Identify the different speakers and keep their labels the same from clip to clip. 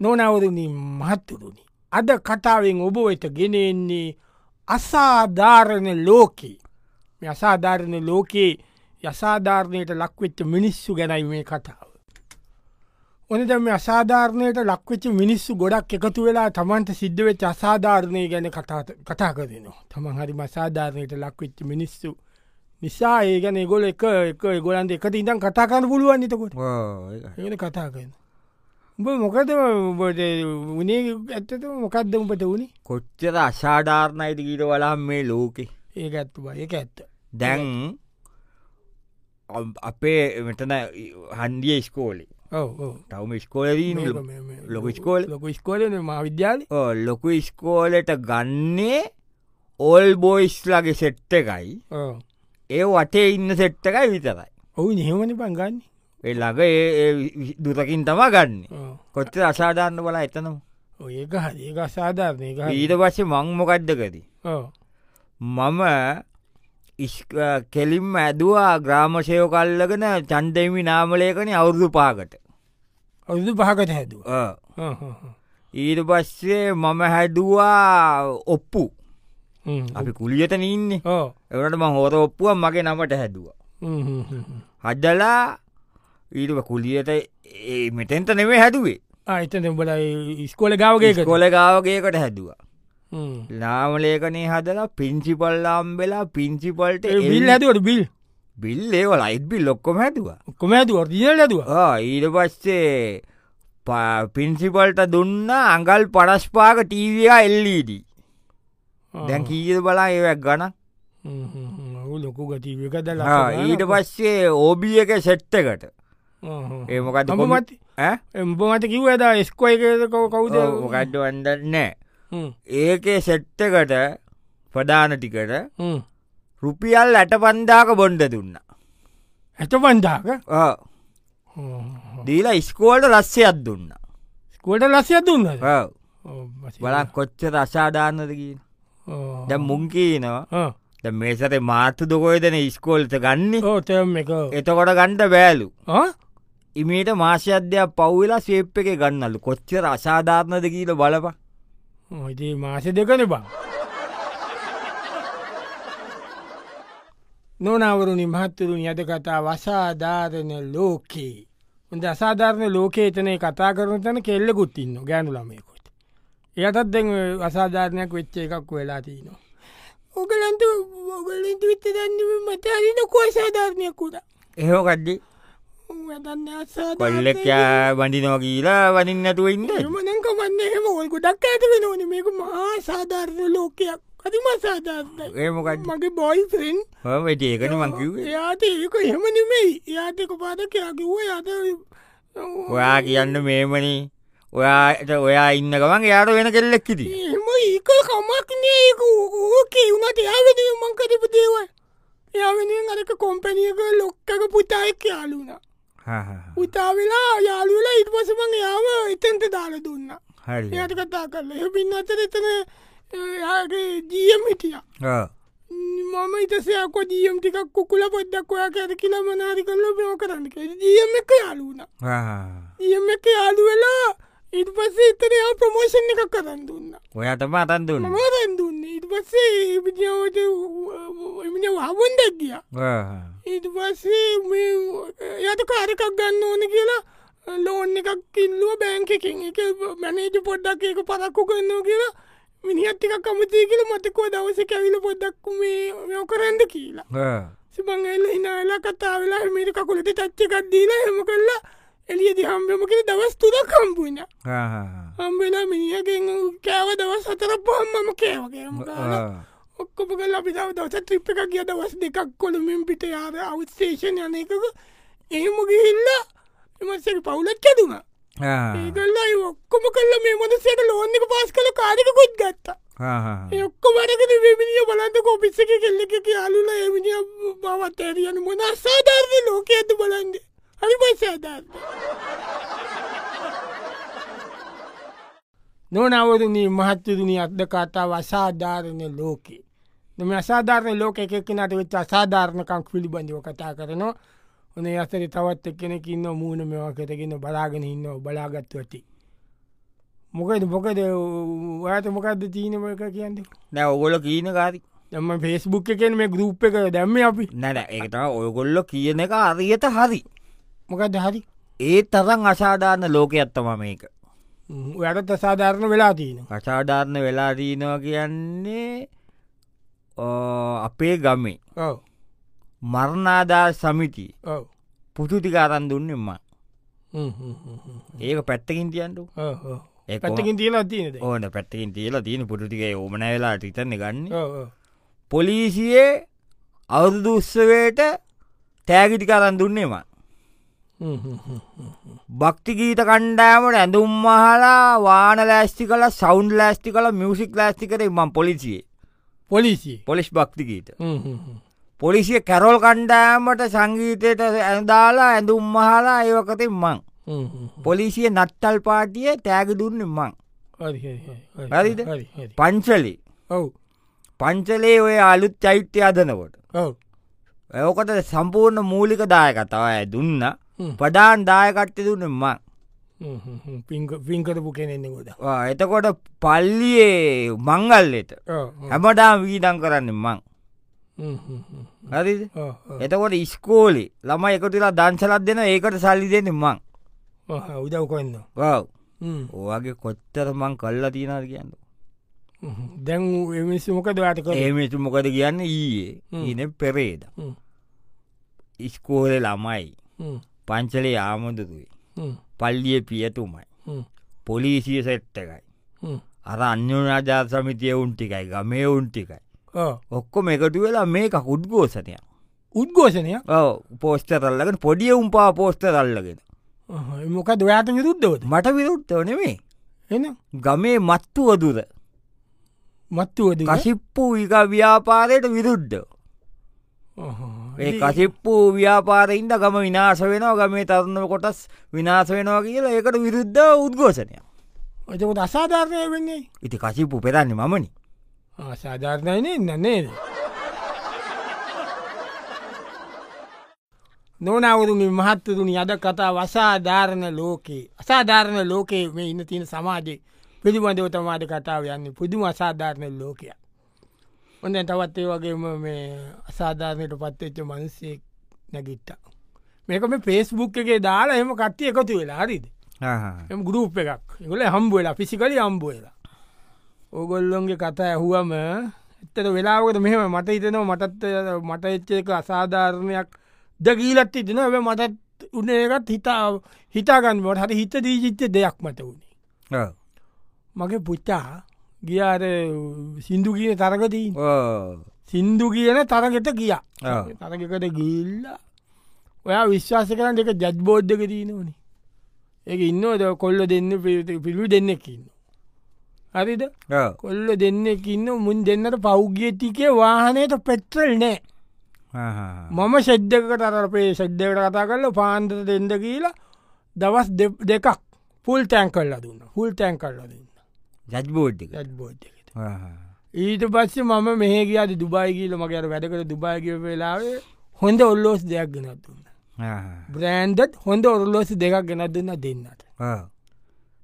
Speaker 1: නොනවරුණින් මහත්තුරුණි. අද කතාවෙන් ඔබ වෙත ගෙනෙන්නේ අසාධාරණ ලෝකී යසාධාරණ ලෝකයේ යසාධාරණයට ලක්වෙච්ච මිනිස්සු ගැනයි මේ කතාව. ඕනද මේ අසාධාරණයට ලක්වෙච්ච මිනිස්සු ගොඩක් එකතු වෙලා තමන්ට සිද්ධවෙච් අසාධාරණය ගැන කතා කරනවා තමන් හරි මසාධාරණයට ලක්වෙච්ච මිනිස්සු නිසා ඒ ගැන ගොල එක එක ගොලන්ද එකට ඉඳන් කතාකන්න පුළුවන් නිතකොට ඒන කතා කරන. උඹ මොකද උඹට උනේ ඇත්තත මොකක්ද උඹට වුණේ
Speaker 2: කොච්චර අශාධාරණයට ගීට වලා මේ ලෝකෙ
Speaker 1: ඒ ඇත්තුවා ඒ ඇත්ත
Speaker 2: දැන් අම්- අපේ මෙටන හන්ඩිය ස්කෝලේ
Speaker 1: ඔව් ඔව්
Speaker 2: තවම ස්කෝලදී ලොකු ස්කෝල
Speaker 1: ලොක ස්කෝල මා විද්‍යාල
Speaker 2: ලොකු ස්කෝලට ගන්නේ ඕල් බෝයිස්ලගේ සෙට්ට එකයි ඒ වටේ ඉන්න සෙට්ටකයි විතරයි
Speaker 1: ඔවු නිහෙමනි පංගන්න
Speaker 2: ඒ ළඟ ඒ- ඒ වි- දුරකින් තම ගන්න කොච්චර අසාධාරන්න බලා එතනම්
Speaker 1: ඒක හරි ඒක අසාධාරණය ඒක හරි.
Speaker 2: ඊට පස්සේ මංමොකද්දකද
Speaker 1: ඔව්.
Speaker 2: මම ඉස්- අ, කෙලින්ම ඇදවා ග්‍රාමශයෝ කල්ලගෙන චන්දෙමි නාමලයකන අවුරුදු පාකට
Speaker 1: අවුරුදු පහකට හැදුව
Speaker 2: අ. ඊට පස්සේ මම හැදවා ඔප්පු අපි කුලියත නීන්නේ
Speaker 1: ඕ
Speaker 2: එවට ම හෝර ඔප්පුුව මගේ නමට හැදවා හදලා ඊටම කුලියට ඒ මෙතෙන්ට නෙවේ හැදුවේ
Speaker 1: අහිතන උඹල ඉස්කොල ගාවගේ
Speaker 2: කොලගාවගේකට හැදවා නාමලේකනේ හදලා පිංචිපල්ලාම් වෙලා පිංචිපල්ට
Speaker 1: බිල් ඇතුවට බිල්
Speaker 2: බිල්ලේව ලයිත්බිල් ලොක්කොම හැදවා
Speaker 1: කොම ඇතු ර්දිියල් ඇතුව
Speaker 2: ඊට පස්සේ ප- පින්සිපල්ට දුන්න අඟල් පඩස්පාක ටීවයා එල්ලීඩ දැන් කීද බලා ඒවැක් ගන
Speaker 1: ඔහු ලොකු ගතිවක දල
Speaker 2: ඊට පස්සේ ඕබිය එක සෙට්ටකට ඒමකත්
Speaker 1: අඹ මත එම්බ මත කිව් ඇදා ස්කොයි එකක කවුද
Speaker 2: මොකඩ්ඩ වඩන්නෑ ඒකේ සෙට්ටකට ප්‍රධාන ටිකට රුපියල් ඇට පන්දාක බොන්්ඩ දුන්න
Speaker 1: ඇත පන්දාක
Speaker 2: ආ, දීලා ඉස්කෝල්ට රස්සයක් දුන්න
Speaker 1: ස්කුවට ලස්සය දුන්න
Speaker 2: ආ, බලන් කොච්ච රසාධානදකින් දැ මුංකීනවා ද මේසතේ මාර්තු දොකොයදන ඉස්කෝල්ට ගන්නේ
Speaker 1: ඕතම එක
Speaker 2: එතකොට ගණ්ඩ බෑලු
Speaker 1: ආ?
Speaker 2: ඉමට මාශ්‍යද්‍යයක් පව්වෙලා සේප් එක ගන්නලු කොච්චර අසාධාරණද කියීල බලප
Speaker 1: ඉති මාස දෙකන බා නොනවරුණි මහත්තුරුණි අද කතා වසාධාරණ ලෝකයේ උද අසාධාරණ ලෝකයේ තනය කතා කරන තන කෙල්ලෙකුත් ඉන්න ගෑනු ළමයකුත් එයටත් දැන් ඔය අසාධාරණයක් වෙච්ච එකක් වෙලා තියනවා ඔගලන්ට ඔගලින් විත්ත දන්න මත අරින කෝසාධාරණයකුට
Speaker 2: එහෝකඩ්ඩි
Speaker 1: දන්න අසා
Speaker 2: කොල්ලෙක්යා වඩිනෝ කියීලා වනින් නැතුව ඉන්න
Speaker 1: එමනක වන්න එහෙම ඔල් ගොඩක් ඇත වෙන ඕන මේක මහා සාධාරණ ලෝකයක් අතිම සාධාරණයි
Speaker 2: ඒමොකඩ්ඩ
Speaker 1: මගේ බොයි ෆරෙන්්
Speaker 2: ඒකන මංකිවේ
Speaker 1: එයාට ඒක එහෙම නෙමෙයි එයාටක පාද කයාකිව්ව යාත
Speaker 2: ඔයා කියන්න මේමනි ඔයාට ඔයා ඉන්න ගමන් යාට වෙන කෙල්ලෙක්කිති
Speaker 1: එහෙම ඒක කමක් නේක ඕකේ වුණට එයාවෙන මංකරපු දේවල් එයාවෙන අරක කොම්පැනියක ලොක්කක පුතායක් යාලුුණ පුතා වෙලා යාලුවලා ඉටපසමං යාව එතන්ට දාල දුන්න
Speaker 2: හරි
Speaker 1: එයට කතා කරල එහ පින් අතර එතන එයාගේ ජියම් හිටියා
Speaker 2: ආ.
Speaker 1: මම ඉතසයක්ක ජියම් ටිකක් කුකුල පොද්දක් ඔයා කඇර කියලා මනාරි කරල බෝ කරන්න ජියම් එක යාලුුණ
Speaker 2: ආ.
Speaker 1: ජියම් එක යාලු වෙලා ඉට පස්සේ ඉතරයා ප්‍රමෝෂණ එකක් කරන්න දුන්න
Speaker 2: ඔයාටම අතන් දුන්න
Speaker 1: මම රැන්දුන්න ඉට පස්සේ ඒපිජාවට එමන වහබොන්දක් ගිය
Speaker 2: ආ.
Speaker 1: ඉට පස්සේ යට කාරකක් ගන්න ඕන කියලා ලෝන් එකක් කිල්ලුව බෑංකකින් එක මැනේජ පොඩ්ඩක් ඒක පරක්කු කරන්නවා කියලා මිනිහත්තික කමතිය කියල මතකෝ දවස කැවිල පොද්දක්කු මේ මෙෝ කරන්න කියලා
Speaker 2: ආ.
Speaker 1: සිබංගල්ල හිනාලා කතා වෙලා හමිට කකුලට තච්චකක්දීලා හෙම කරලා එලිය දිහම්බම කියල දවස් තුද කම්පුුණ
Speaker 2: ආ.
Speaker 1: හම්බෙලා මිනිියගෙන් කෑව දවස් සතර පහම් මම කෑවගේම
Speaker 2: ආ.
Speaker 1: ඔක්කොම කල අපිතාව දවස ත්‍රිප් එක කිය දවස් දෙකක් කොළමින් පිට යාර අවස්තේෂණ යන එකක එහෙම ගිහිල්ලා එමසක පවුලක් ඇදුම
Speaker 2: ආ.
Speaker 1: ඒගල්ලා ඒ ඔක්කොම කල්ල මේ මොදසයට ලෝන්නක පස් කල කාරකකොත් ගත්තා
Speaker 2: ආ.
Speaker 1: ඔක්කොමරකද වෙමිනිිය බලන්නක ඔපිස්ස එක කෙල්ලෙක කියයාලුල එමිනිිය බවත් ඇරියන මොන අසාධර්ද ලෝක ඇතු බලන්ද හරි පසාධර් නොනවරණී මහත්තරුණි අද කතාව අසාධාරණ ලෝකේ මෙම අසාධාරණ ලෝක එකනට වෙච් අසාධාරණකං පිළිබඳව කතා කරනවා ඔන අසර තවත් එක්කෙනෙකින්න මූුණ මෙවා කරගෙන බලාගෙන ඉන්න බලාගත්තු ඇති මොකද මොකද ඔයාත මොකක්ද තියනම එක කියන්න
Speaker 2: නෑ ඔගොල කියන කාරි
Speaker 1: එම ෆෙස්බුක් එකෙන් මේ ගරුප් එක දැම්ම අපි
Speaker 2: නැන එකට ඔයගොල්ලො කියන එක අරියට හරි
Speaker 1: මොකද හරි
Speaker 2: ඒ තරන් අසාධාරණ ලෝකයක් ඇත්තම මේක
Speaker 1: වැඩත් අසාධාරණ වෙලා තියෙන
Speaker 2: කසාධාරණ වෙලා දීනවා කියන්නේ අ, අපේ ගමේ
Speaker 1: ඔව
Speaker 2: මරණාදා සමිති
Speaker 1: ඔව
Speaker 2: පුතුතිකාරන් දුන්නෙම ඒක පැත්තකින් තියන්ට ඒ
Speaker 1: පැත්තකින් තියලා තියනද
Speaker 2: ඕන පැත්තකින් තියලා තියෙන පුටුතිකේ ඕමන වෙලා ටිතන්න ගන්න
Speaker 1: ඔව්.
Speaker 2: පොලිසියේ අවුරුදු උත්සවයට තෑගිටිකාරන් දුන්නේම
Speaker 1: හ්ම් හ්ම් හ්ම්.
Speaker 2: භක්තිගීත කණ්ඩෑමට ඇඳුම් මහලා වාන ලෑස්ති කල සෞන්් ලෑස්ති කල මියසික් ලෑස්ති කරේ ම පොලිසියේ
Speaker 1: පොලිසිය
Speaker 2: පොලිස් භක්තිගීත
Speaker 1: හ්ම් හ්ම් හ්ම්.
Speaker 2: පොලිසිය කැරෝල් කණ්ඩෑමට සංගීතයට ඇඳදාලා ඇඳුම් මහලා ඒවකතේ මං
Speaker 1: හ්ම් හ්ම් හ්ම්.
Speaker 2: පොලිසිය නත්තල් පාටිය තෑගි දුන්න මං
Speaker 1: හරි, හරි, හරි, හරි.
Speaker 2: හරිද?
Speaker 1: හරි, හරි.
Speaker 2: පංචලි
Speaker 1: ඔව්
Speaker 2: පංචලේ ඔය අලුත් චෛත්‍ය අදනකොට
Speaker 1: ඔව්
Speaker 2: ඇයෝකට සම්පූර්ණ මූලික දායකතාව ඇ දුන්න
Speaker 1: හ්ම්.
Speaker 2: ප්‍රඩාන් දායකට්ටය දුන්න මං
Speaker 1: හ්ම් හ්ම් හ්ම්. පින්ක- පින්කරපු කෙනෙන්නේ ගොඩ
Speaker 2: ආ, එතකොට පල්ලියේ මංගල්ලෙට හැමඩාම් වීඩං කරන්න මං හරි එතකොට ඉස්කෝලි ළම එකතුලා දංශලත් දෙන ඒකට සල්ලි දෙන්න මං
Speaker 1: උදව් කොන්න
Speaker 2: වව් ඕගේ කොච්චර මං කල්ලා තියෙනද කියන්න
Speaker 1: දැන් එමිස් මොකද වාට කර
Speaker 2: ඒමතු මොකද කියන්න ඊයේ ඉන පෙරේද ඉස්කෝලෙ ළමයි පංචලේ ආමුදුරුයි පල්ලිය පියතුමයි පොලිසිය සෙට්ටකයි අර අන්‍යනාජා සමිතිය උන්ටිකයි ගමේ උන්ටිකයි ඔක්කොම එකතු වෙලා මේ කකුඩ් ගෝසනය
Speaker 1: උද්ගෝෂණයක්
Speaker 2: ඔව පෝස්ටරල්ලගෙන පොඩිය උම්පා පෝස්ටරල්ලගෙන
Speaker 1: මොක දොයාට විරුද්ධවද
Speaker 2: මට විරුද්ධව නෙමේ
Speaker 1: එන
Speaker 2: ගමේ මත්තුවදුර
Speaker 1: මත්තුවද
Speaker 2: කසිප්පු වික ව්‍යාපාරයට විරුද්ධ ඒ කසිප්පු ව්‍යාපාරයින්ද ගම විනාශ වෙනවා ගමේ තරුණ කොටස් විනාශ වෙනවා කියලා ඒකට විරුද්ධ උද්ගෝෂණය
Speaker 1: ඔතකොට අසාධාරණය වෙන්නේ
Speaker 2: ඉති කසිප්පු පෙරන්නේ මනි
Speaker 1: Ah, සාධාරණයනය නන්නේද නොනවරුණි මහත්තතුනි අද කතා වසාධාරණ ලෝකයේ අසාධාරණ ලෝකයේ මේ ඉන්න තියෙන සමාජයේ පිළිබඳව තමාද කතාව යන්නේ පුදුම අසාධාරණ ලෝකයක් ඔන්න දැන් තවත් ඒ වගේම මේ අසාධාරණයට පත්වෙච්ච මනුස්සෙක් නැගිට්ටා මේක මේ පේස්බුක් එකේ දාලා එම කට්ටිය එකතු වෙලා හරිද එම ගරුප් එකක් ගොල හම්බුවලා ෆිසිකලි හම්බුවලා ඕගොල්ලොන්ගේ කතා ඇහුවම එත්තට වෙලාවකට මෙහම මට හිතනවා මටත් අර මට එච්චක අසාධාරණයක් දකීලත් ඉතින ඇ මටත් උනේකත් හිතා හිතාගන්නවට හට හිත දීජිච්ච දෙයක් මට වුණේ මගේ පුච්චා ගියාර සින්දු කියන තරගතිී සින්දු කියන තරගෙට ගිය
Speaker 2: ඔව්.
Speaker 1: තරගකට ගිල්ල ඔයා විශ්වාස කරන දෙක ජජ් බෝද්ධක දීනවන ඒ ඉන්නවද කොල්ල දෙන්න පිට- පිළිවි දෙන්නෙක්කින්න හරිද කොල්ල දෙන්නෙක්කින්න මුන් දෙන්නට පෞග්ගතිකේ වාහනයට පෙට්‍රල් නෑ මම ශෙද්ධකට අරපේ ශෙද්ධකට කතා කරල පාන්ත දෙන්ද කියලා දවස් දෙ- දෙකක් පුල් තැන් කල්ලා දුන්න හුල් තැන් කල්ලා දෙන්න
Speaker 2: ජජ්බෝඩ්ික
Speaker 1: ජජ් බෝද්ධක ඊට පස්සේ මම මෙහ කියාද දුබයිගීල මගේ අර වැඩකට දුබායගව වෙලාවේ හොඳ ඔල්ලෝස් දෙයක් ගෙනත් දුන්න බ්‍රෑන්ඩත් හොඳ ඔරල්ලෝසි දෙකක් ගෙනත් දෙන්න දෙන්නට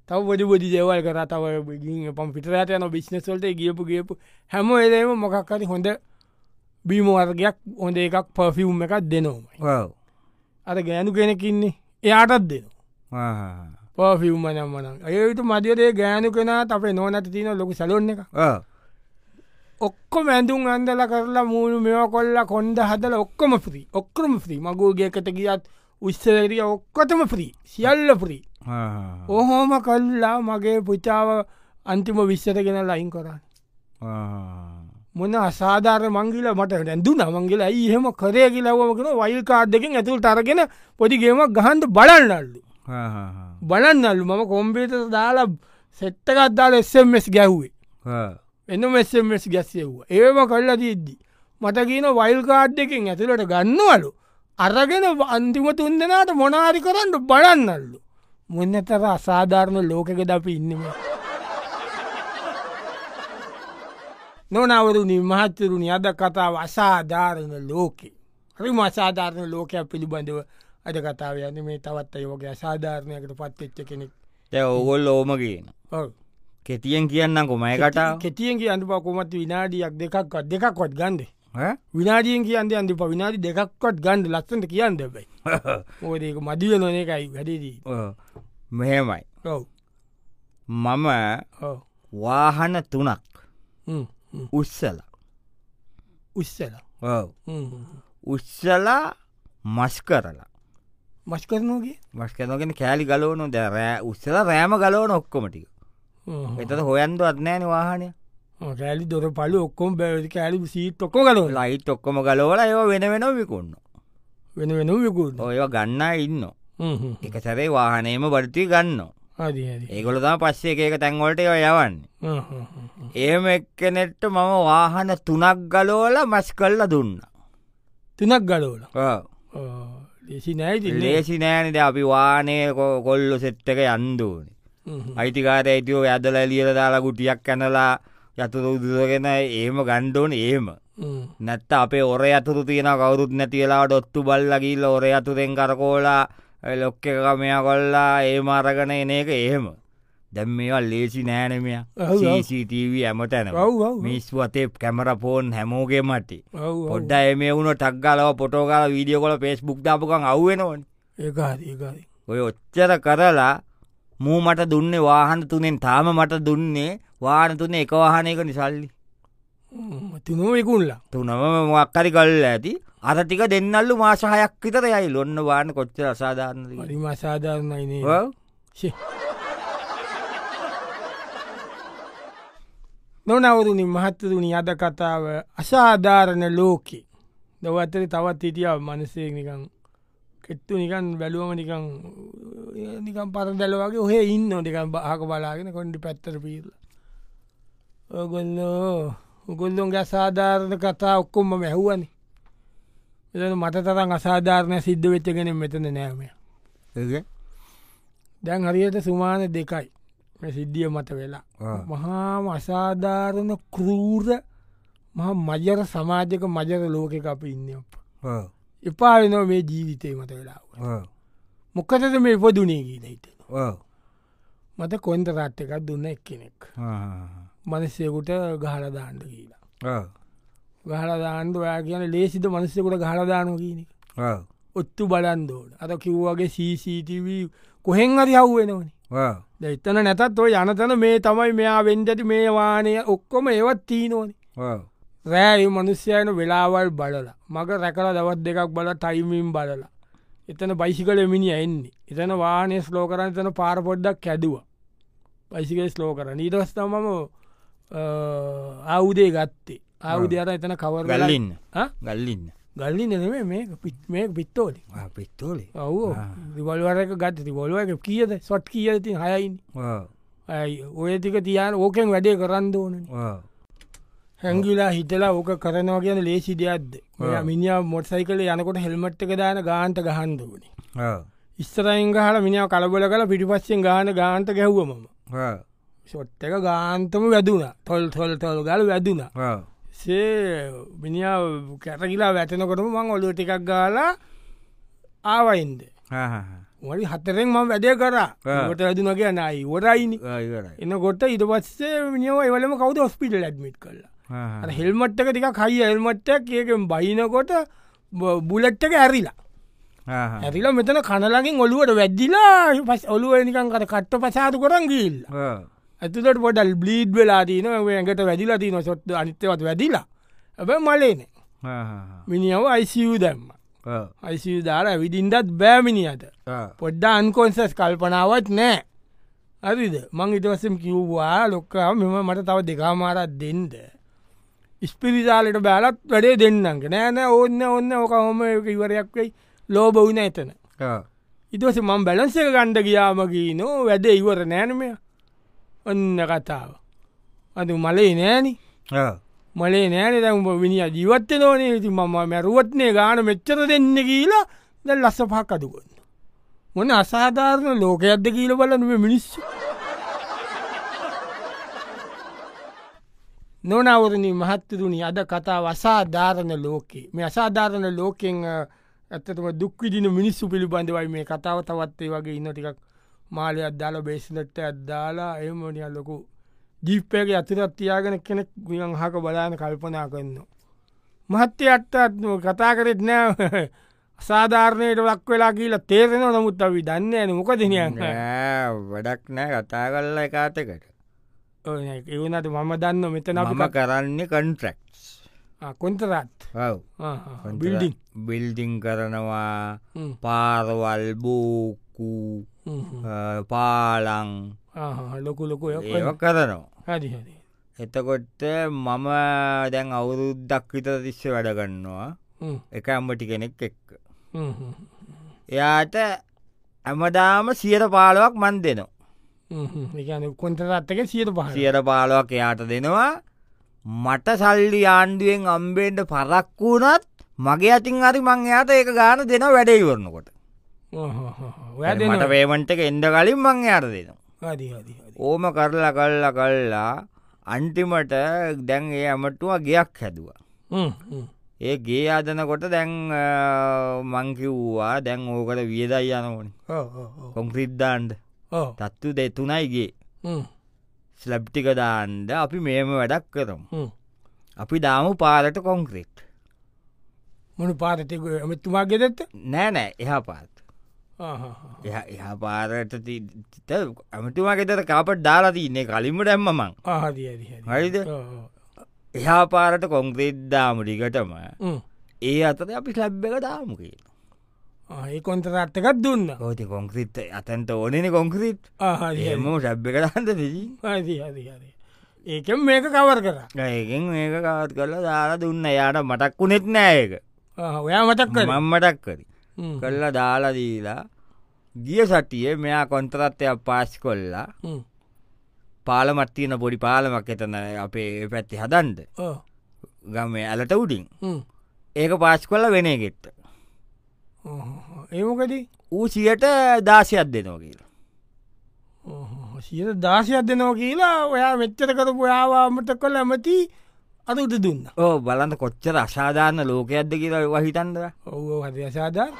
Speaker 1: තව බොඩි බොඩි දේවල් කර තව පම් පිටරට යන බිශ්නස්වලට ගියපු ගියපු හැම එලේම මොකක්කරි හොඳ බීමවර්ගයක් හොඳ එකක් පෆිවුම් එකක් දෙනවමයි අර ගෑනු කෙනකින්නේ එයාටත් දෙන පෆිවම්ම නම්මන ඒට මධ්‍යරේ ගෑනු කෙනත් අපේ නොනැට තියන ලොක සලොන්න එක ඔක්කොම ඇඳුම් අන්දල කරලා මූුණු මෙෝ කොල්ල කොන්ඩ හදල ඔක්කොම ප්‍රී ඔක්කරම ප්‍රී මගෝගේකට ගියත් උස්සරිය ඔක්කොතම ප්‍රී සියල්ල ප්‍රී ඔහෝම කල්ලා මගේ පුචාව අන්තිම විශ්ෂරගෙන ලයින් කරන්න මොන අසාධාර මංගිල මට ඇඳු නමංගල ඒහෙම කරය කියලවමකෙන වයිල් කාඩ්ඩකින් ඇතුල් තරගෙන පොඩිගේමක් ගහන්ට බලන්නල්ලු බලන්නල්ලු මම කොම්පේට දාලා සෙට්ටකත්දාල එස්සමස් ගැහ්වේ එනම් එස්මස් ගැස්සෙව්වා ඒම කල්ලා තියද්දි මට කියන වයිල් කාඩ් එකෙන් ඇතුළට ගන්නවලු අරගෙන අන්තිම තුන්දනාට මොනාරි කරන්න බලන්නල්ලු මොන්න තර අසාධාරණ ලෝකකද අපි ඉන්නම නොනවරුණි මහත්තරුණි අද කතාව අසාධාරණ ලෝකෙ හරිම අසාධාරණ ලෝකයක් පිළිබඳව අද කතාව යන මේ තවත් අයෝගේ අසාධාරණයකට පත්වෙච්ච කෙනෙක්
Speaker 2: ඔගොල් ඕමගේන
Speaker 1: ඔව්.
Speaker 2: කෙතියෙන් කියන්න කොමයි කටාව
Speaker 1: කෙතියෙන් කියන්න පකොමත් විනාඩියක් දෙකක්වත් දෙකක්වත් ගන්ඩ විනාඩියෙන් කියන්න අන්ප විනාඩි දෙකක්වත් ගන්ඩ ලස්සට කියන්න දෙබයි ඕදක මදිය නොන එකයි වැඩදී
Speaker 2: මෙහෙමයි
Speaker 1: ඔව
Speaker 2: මම වාහන තුනක් උත්සල
Speaker 1: උස්සල
Speaker 2: උත්සලා මස් කරලා
Speaker 1: මස් කරනෝගේ
Speaker 2: මස්කනගෙන කෑලි ගලෝනො ද රෑ උත්සල රෑම ගලෝන ඔක්කොමටික එතද හොයන්ද අත්නෑන වාහනය
Speaker 1: රැලි දොර පලු ඔක්කොම බැවි කෑලි සිීත් ඔක්කො කල
Speaker 2: ලයිට් ඔක්කොම ගලෝල ඒව වෙන වෙන විකුන්න
Speaker 1: වෙන වෙන විකුල්
Speaker 2: ඔය ගන්න ඉන්න එක සැරේ වාහනේම බඩතිී ගන්න ඒගොල තම පස්සේ එක තැන්වලට ඒව යවන්නේ ඒම එක්කනෙට්ට මම වාහන තුනක් ගලෝල මස් කල්ල දුන්න
Speaker 1: තුනක් ගලෝල
Speaker 2: ඔව්.
Speaker 1: ලෙසි නෑති
Speaker 2: ලේසි නෑනද අපි වානය කොල්ලො සෙට්ටක යන්දෝනේ අයිතිකාර ඇතිෝ ඇදල ලියල දාලා ගුටියක් කැනලා යතුර උදුරගෙන ඒම ගණ්ඩෝන ඒම නැත්ත අපේ ඔර අතුරු තියෙන කවරුත් නැතිලා ඩොත්තු බල්ලගිල්ල ඔර අතුරෙන් කරකෝලා ලොක්ක කමය කොල්ලා ඒ මාරගන එන එක ඒම දැම් මේවා ලේසි
Speaker 1: ඔව්, ඔව්.
Speaker 2: නෑනමයටව ඇමට ඇන
Speaker 1: ඔව්, ඔව්, ඔව්.
Speaker 2: මිස්වතේ කැමර පෝන් හැමෝගේ මටි පොඩ්ඩ එම වුණ ටක්ගලව පොටෝගල වීඩියෝ කොල පෙස්බුක් දාපුකන් අවුවෙනවන්
Speaker 1: ඒකාඒකාරි
Speaker 2: ඔය ඔච්චර කරලා මූ මට දුන්නේ වාහන තුනෙන් තාම මට දුන්නේ වාන තුනේ එක වාහනයක නිසල්ලි
Speaker 1: තුනෝ විකුල්ලා
Speaker 2: තුනම මක්කරි කල්ල ඇති අර ටික දෙන්නල්ලු මාසාහයක් විතර යයි ලොන්න වාන කොච්චර අසාධාරණ
Speaker 1: මරිම අසාධාරණයිනේ ශේ. නොනවරුණින් මහත්තරුණි අද කතාව අසාධාරණ ලෝකෙ දවත්තර තවත් හිටිය මනසේ නිකං කෙත්තු නිකන් බැලුවම නිකං නිකම් පර දැලවගේ ඔහේ ඉන්න නිකම් බාහක බලාගෙන කොන්ඩි පැත්තර පීල්ල ඔගොල්ලෝ උගොල්ලොන්ගේ අසාධාරණ කතා ඔක්කොම මැහුවනි එ මට තරන් අසාධාරණය සිද්ධ වෙච්චගෙන මෙතන නෑමය දැන් හරියට සුමාන දෙකයි මේ සිද්ධිය මත වෙලා
Speaker 2: ආ.
Speaker 1: මහාම අසාධාරණ කරූර මහා මජර සමාජක මජර ලෝකෙක අප ඉන්න අප එපා වෙන මේ ජීවිතය මත වෙලාව මොකතද මේ පොදුනේ ගීන හිතෙන මත කොන්ද රට් එකක් දුන්න එක් කෙනෙක් මනස්සයකුට ගහලදාන්ට කියලා ගහලදාන්ට ඔයා කියන ලේසිද මනස්සකුට ගහලදානො කියනෙ ඔත්තු බලන්දෝට අත කිව්වාගේ CCTV කොහෙන් අරි හව්වෙනවනේ එතන නැතත් ඔය යනතන මේ තමයි මෙයා වෙන්ඩට මේ වානය ඔක්කොම ඒවත් තිීනෝනි රෑයි මනුස්්‍යයන වෙලාවල් බලලා මග රැකල දවත් දෙකක් බල ටයිමින් බලලා එතන බයිසිකල මිනි එන්නේ එතන වානය ස්ලෝකරන්න තන පාරපොඩ්ඩක් කැඩුව පයිසිකල ස්ලෝ කරන ඊටස්තමම අවුදේ ගත්තේ අවුද අර එතන කවර
Speaker 2: ගල්ලින්න ගල්ලින්න
Speaker 1: ගල්ලි නෙමේ මේ පිත් මේ පිත්තෝලි
Speaker 2: පිත්තෝලේ
Speaker 1: ඔවෝ රිවල්වරක ගත්ත රිවොල්ුව කියද සොට් කියති හයයින් ඇයි ඔය ටික තියන් ඕකෙන් වැඩේ කරන්න ඕන හැංගිලා හිතලා ඕක කරනවා කියන ලේසි දෙයක්ද ඔයා මිනිිය මොට් සයිකල යනකොට හෙල්මට් එක දාන ගාන්ට ගහන්දුවනි ඉස්සරයින් හල මිනිිය කලබල කල පිටිපස්සෙන් ගාන ගාන්ට ගැහ්වමම ෂොට් එක ගාන්තම වැදුන තොල් තොල් තොල් ගල වැදුන සේ මිනිිය කැරගිලා වැටනකොටම මං ඔලුව ටිකක් ගාලා ආවයින්ද වලි හතරෙන් මම වැඩය කරා
Speaker 2: ආ.
Speaker 1: ගොට වැදුන කිය නයි වරයිනි
Speaker 2: ඉවරයි
Speaker 1: එනකොට ඉට පස්සේ මිනිියව එවලම කවද ඔස්පිට ලැඩ්මිට කරලා හෙල්මට්ටක ටික කයි එල්මට්ටක් ඒකෙන් බයිනකොට බ- බුලට්ටක ඇරිලා ඇරිලා මෙතන කනලගින් ඔලුවට වැද්දිලා පස් ඔලුව නිකන් කර කට්ට පසාතු කරන් ගිල්ල ඇතුලට පොඩල් බ්ලීඩ් වෙලා දීන ඇඟට වැදිලා තින සොට් අනිත්‍යවත් වැදිලා ඇබ මලේන මිනිියව අයිසිූ දැම්ම අයිසිූ දාර විදිින්දත් බෑමිනිියට පොඩ්ඩ අන්කොන්සස් කල්පනාවත් නෑ ඇරිද මං ඉටවසම් කිව්වා ලොක්කා මෙම මට තව දෙකාමාරත් දෙන්ද ඉස්පිරිසාලට බෑලත් වැඩේ දෙන්නක නෑන ඕන්න ඔන්න ඕක හොම ඉවරයක් වෙයි ලෝබවුන එතන ඉටවස මං බැලන්සක ගණ්ඩ ගියාමකී නෝ වැඩ ඉවර නෑනමය ඔන්න කතාව අතු මලේ නෑනි මලේ නෑන දැම විනිිය ජීවත්ත නෝනේ ති මම මැරුවත්නේ ගාන මෙච්චර දෙන්න කියලා දැ ලස්ස පහකදුකොන්න. මොන අසාධාරණ ලෝකයක්ද කියල බලනුව මිනිස්ස. නොනවරණ මහත්තරුණි අද කතා වසාධාරණ ලෝකයේ මේ අසාධාරණ ලෝකෙන් අ, ඇත්තටම දුක්විදින මිනිස්සු පිළිබඳවයි මේ කතාව තවත්තේ වගේ ඉන්න ටිකක් මාලයක් දාලා බේසිනට අද්දාලා එමනිිය ලොකු ජීප්පයක ඇතුරත් තියාගෙන කෙනෙක් ගියන් හක බලාන කල්පනා කන්න. මහත්්‍ය අත්තත් කතා කරෙත් නෑ සාධාරණයට ලක් වෙලා කියලා තේරෙන නමුත් අවි දන්න ඇන මොකදනයන්න
Speaker 2: වැඩක් නෑ කතා කල්ල එකාතකට
Speaker 1: එවනට මම දන්න මෙත
Speaker 2: නම කරන්නේ කන්ට්‍රක්ස්
Speaker 1: කොන්තරත්
Speaker 2: ඔව්
Speaker 1: බිල්ඩිං
Speaker 2: බිල්ඩිං කරනවා පාරවල් බෝකු පාලං
Speaker 1: ලොකු ලොකු
Speaker 2: ඒව කරනවා
Speaker 1: හරිහරි
Speaker 2: එතකොට මම දැන් අවුරුද්දක් විතර තිස්ස වැඩගන්නවා එක අම්මටි කෙනෙක් එක්ක එයාට ඇමදාම සියට පාලොවක් මන් දෙනවා
Speaker 1: කොන්තරත්තක සියට පහසිය
Speaker 2: සියට පාලොවක් එයාට දෙනවා මට සල්ලි ආණ්ඩුවෙන් අම්බෙන්ට පරක් වුණත් මගේ අතින් අරි මං එයාට ඒක ගාන දෙන වැඩයිවරණකොට
Speaker 1: වැදට
Speaker 2: මට පේමන්ට එක එන්ඩ කලින් මං එයාට දෙනවා ඕම කරලා කල්ල කල්ලා අන්තිමට දැන් ඒ ඇමටුව ගයක් හැදවා. ඒ ගේ අදනකොට දැන් මංකිව්වා දැන් ඕකට වියදයි යනඕන කොංක්‍රිද්දාන්ඩ තත්තු දෙතුනයිගේ ස්ලබ්ටික දාන්ඩ අපි මේම වැඩක් කරම්. අපි දාම පාලට කොංක්‍රීට්
Speaker 1: මොන පාරතක ඇමතුමා ගෙදත්ත
Speaker 2: නෑනෑ එහා පාත් එහා පාරට ඇමතුමා ගෙතර කාපට දාලා තින්නේ කලින්ම දැම්ම මං
Speaker 1: ආහරිහරි
Speaker 2: හරිද එහා පාරට කොංක්‍රීට් දාමටිකටම ඒ අතර අපි ලැබ්බක දාමකේ
Speaker 1: ඒ කොන්තරත්තකත් දුන්න
Speaker 2: කෝති කොංක්‍රීට් අතන්ට ඕනෙන කොංක්‍රීට්
Speaker 1: ආහරි
Speaker 2: එම ශබ්බ කරන්ද දෙසි
Speaker 1: හරිහරි ඒකෙන් මේක කවර කර
Speaker 2: ඒකෙන් ඒක කවත් කරලා දාලා දුන්න යාට මටක් වුණෙත් නෑයක
Speaker 1: ඔයා මතක් කර
Speaker 2: මම්මටක් කරි කරලා දාලා දීලා ගිය සටිය මෙයා කොන්තරත්වයක් පාස් කොල්ලා පාලමත්තියන පොඩි පාලමක් එතන අපේ පැත්ති හදන්ද ගම ඇලට උඩින් ඒක පාස් කොල්ල වෙන ගෙත්ත
Speaker 1: ඒමකදී
Speaker 2: ඌ සියට දාශයක් දෙනෝ කියලා
Speaker 1: සියට දාශයක් දෙනෝ කියලා ඔයා මෙච්චර කරපු යාවාමට කොල් ඇමති අද උද දුන්න
Speaker 2: ඕ බලන්න කොච්චර අසාධාරණ ලෝකයක්ද කියලා වහිතන්දර
Speaker 1: ඔවෝ හද අසාධාර්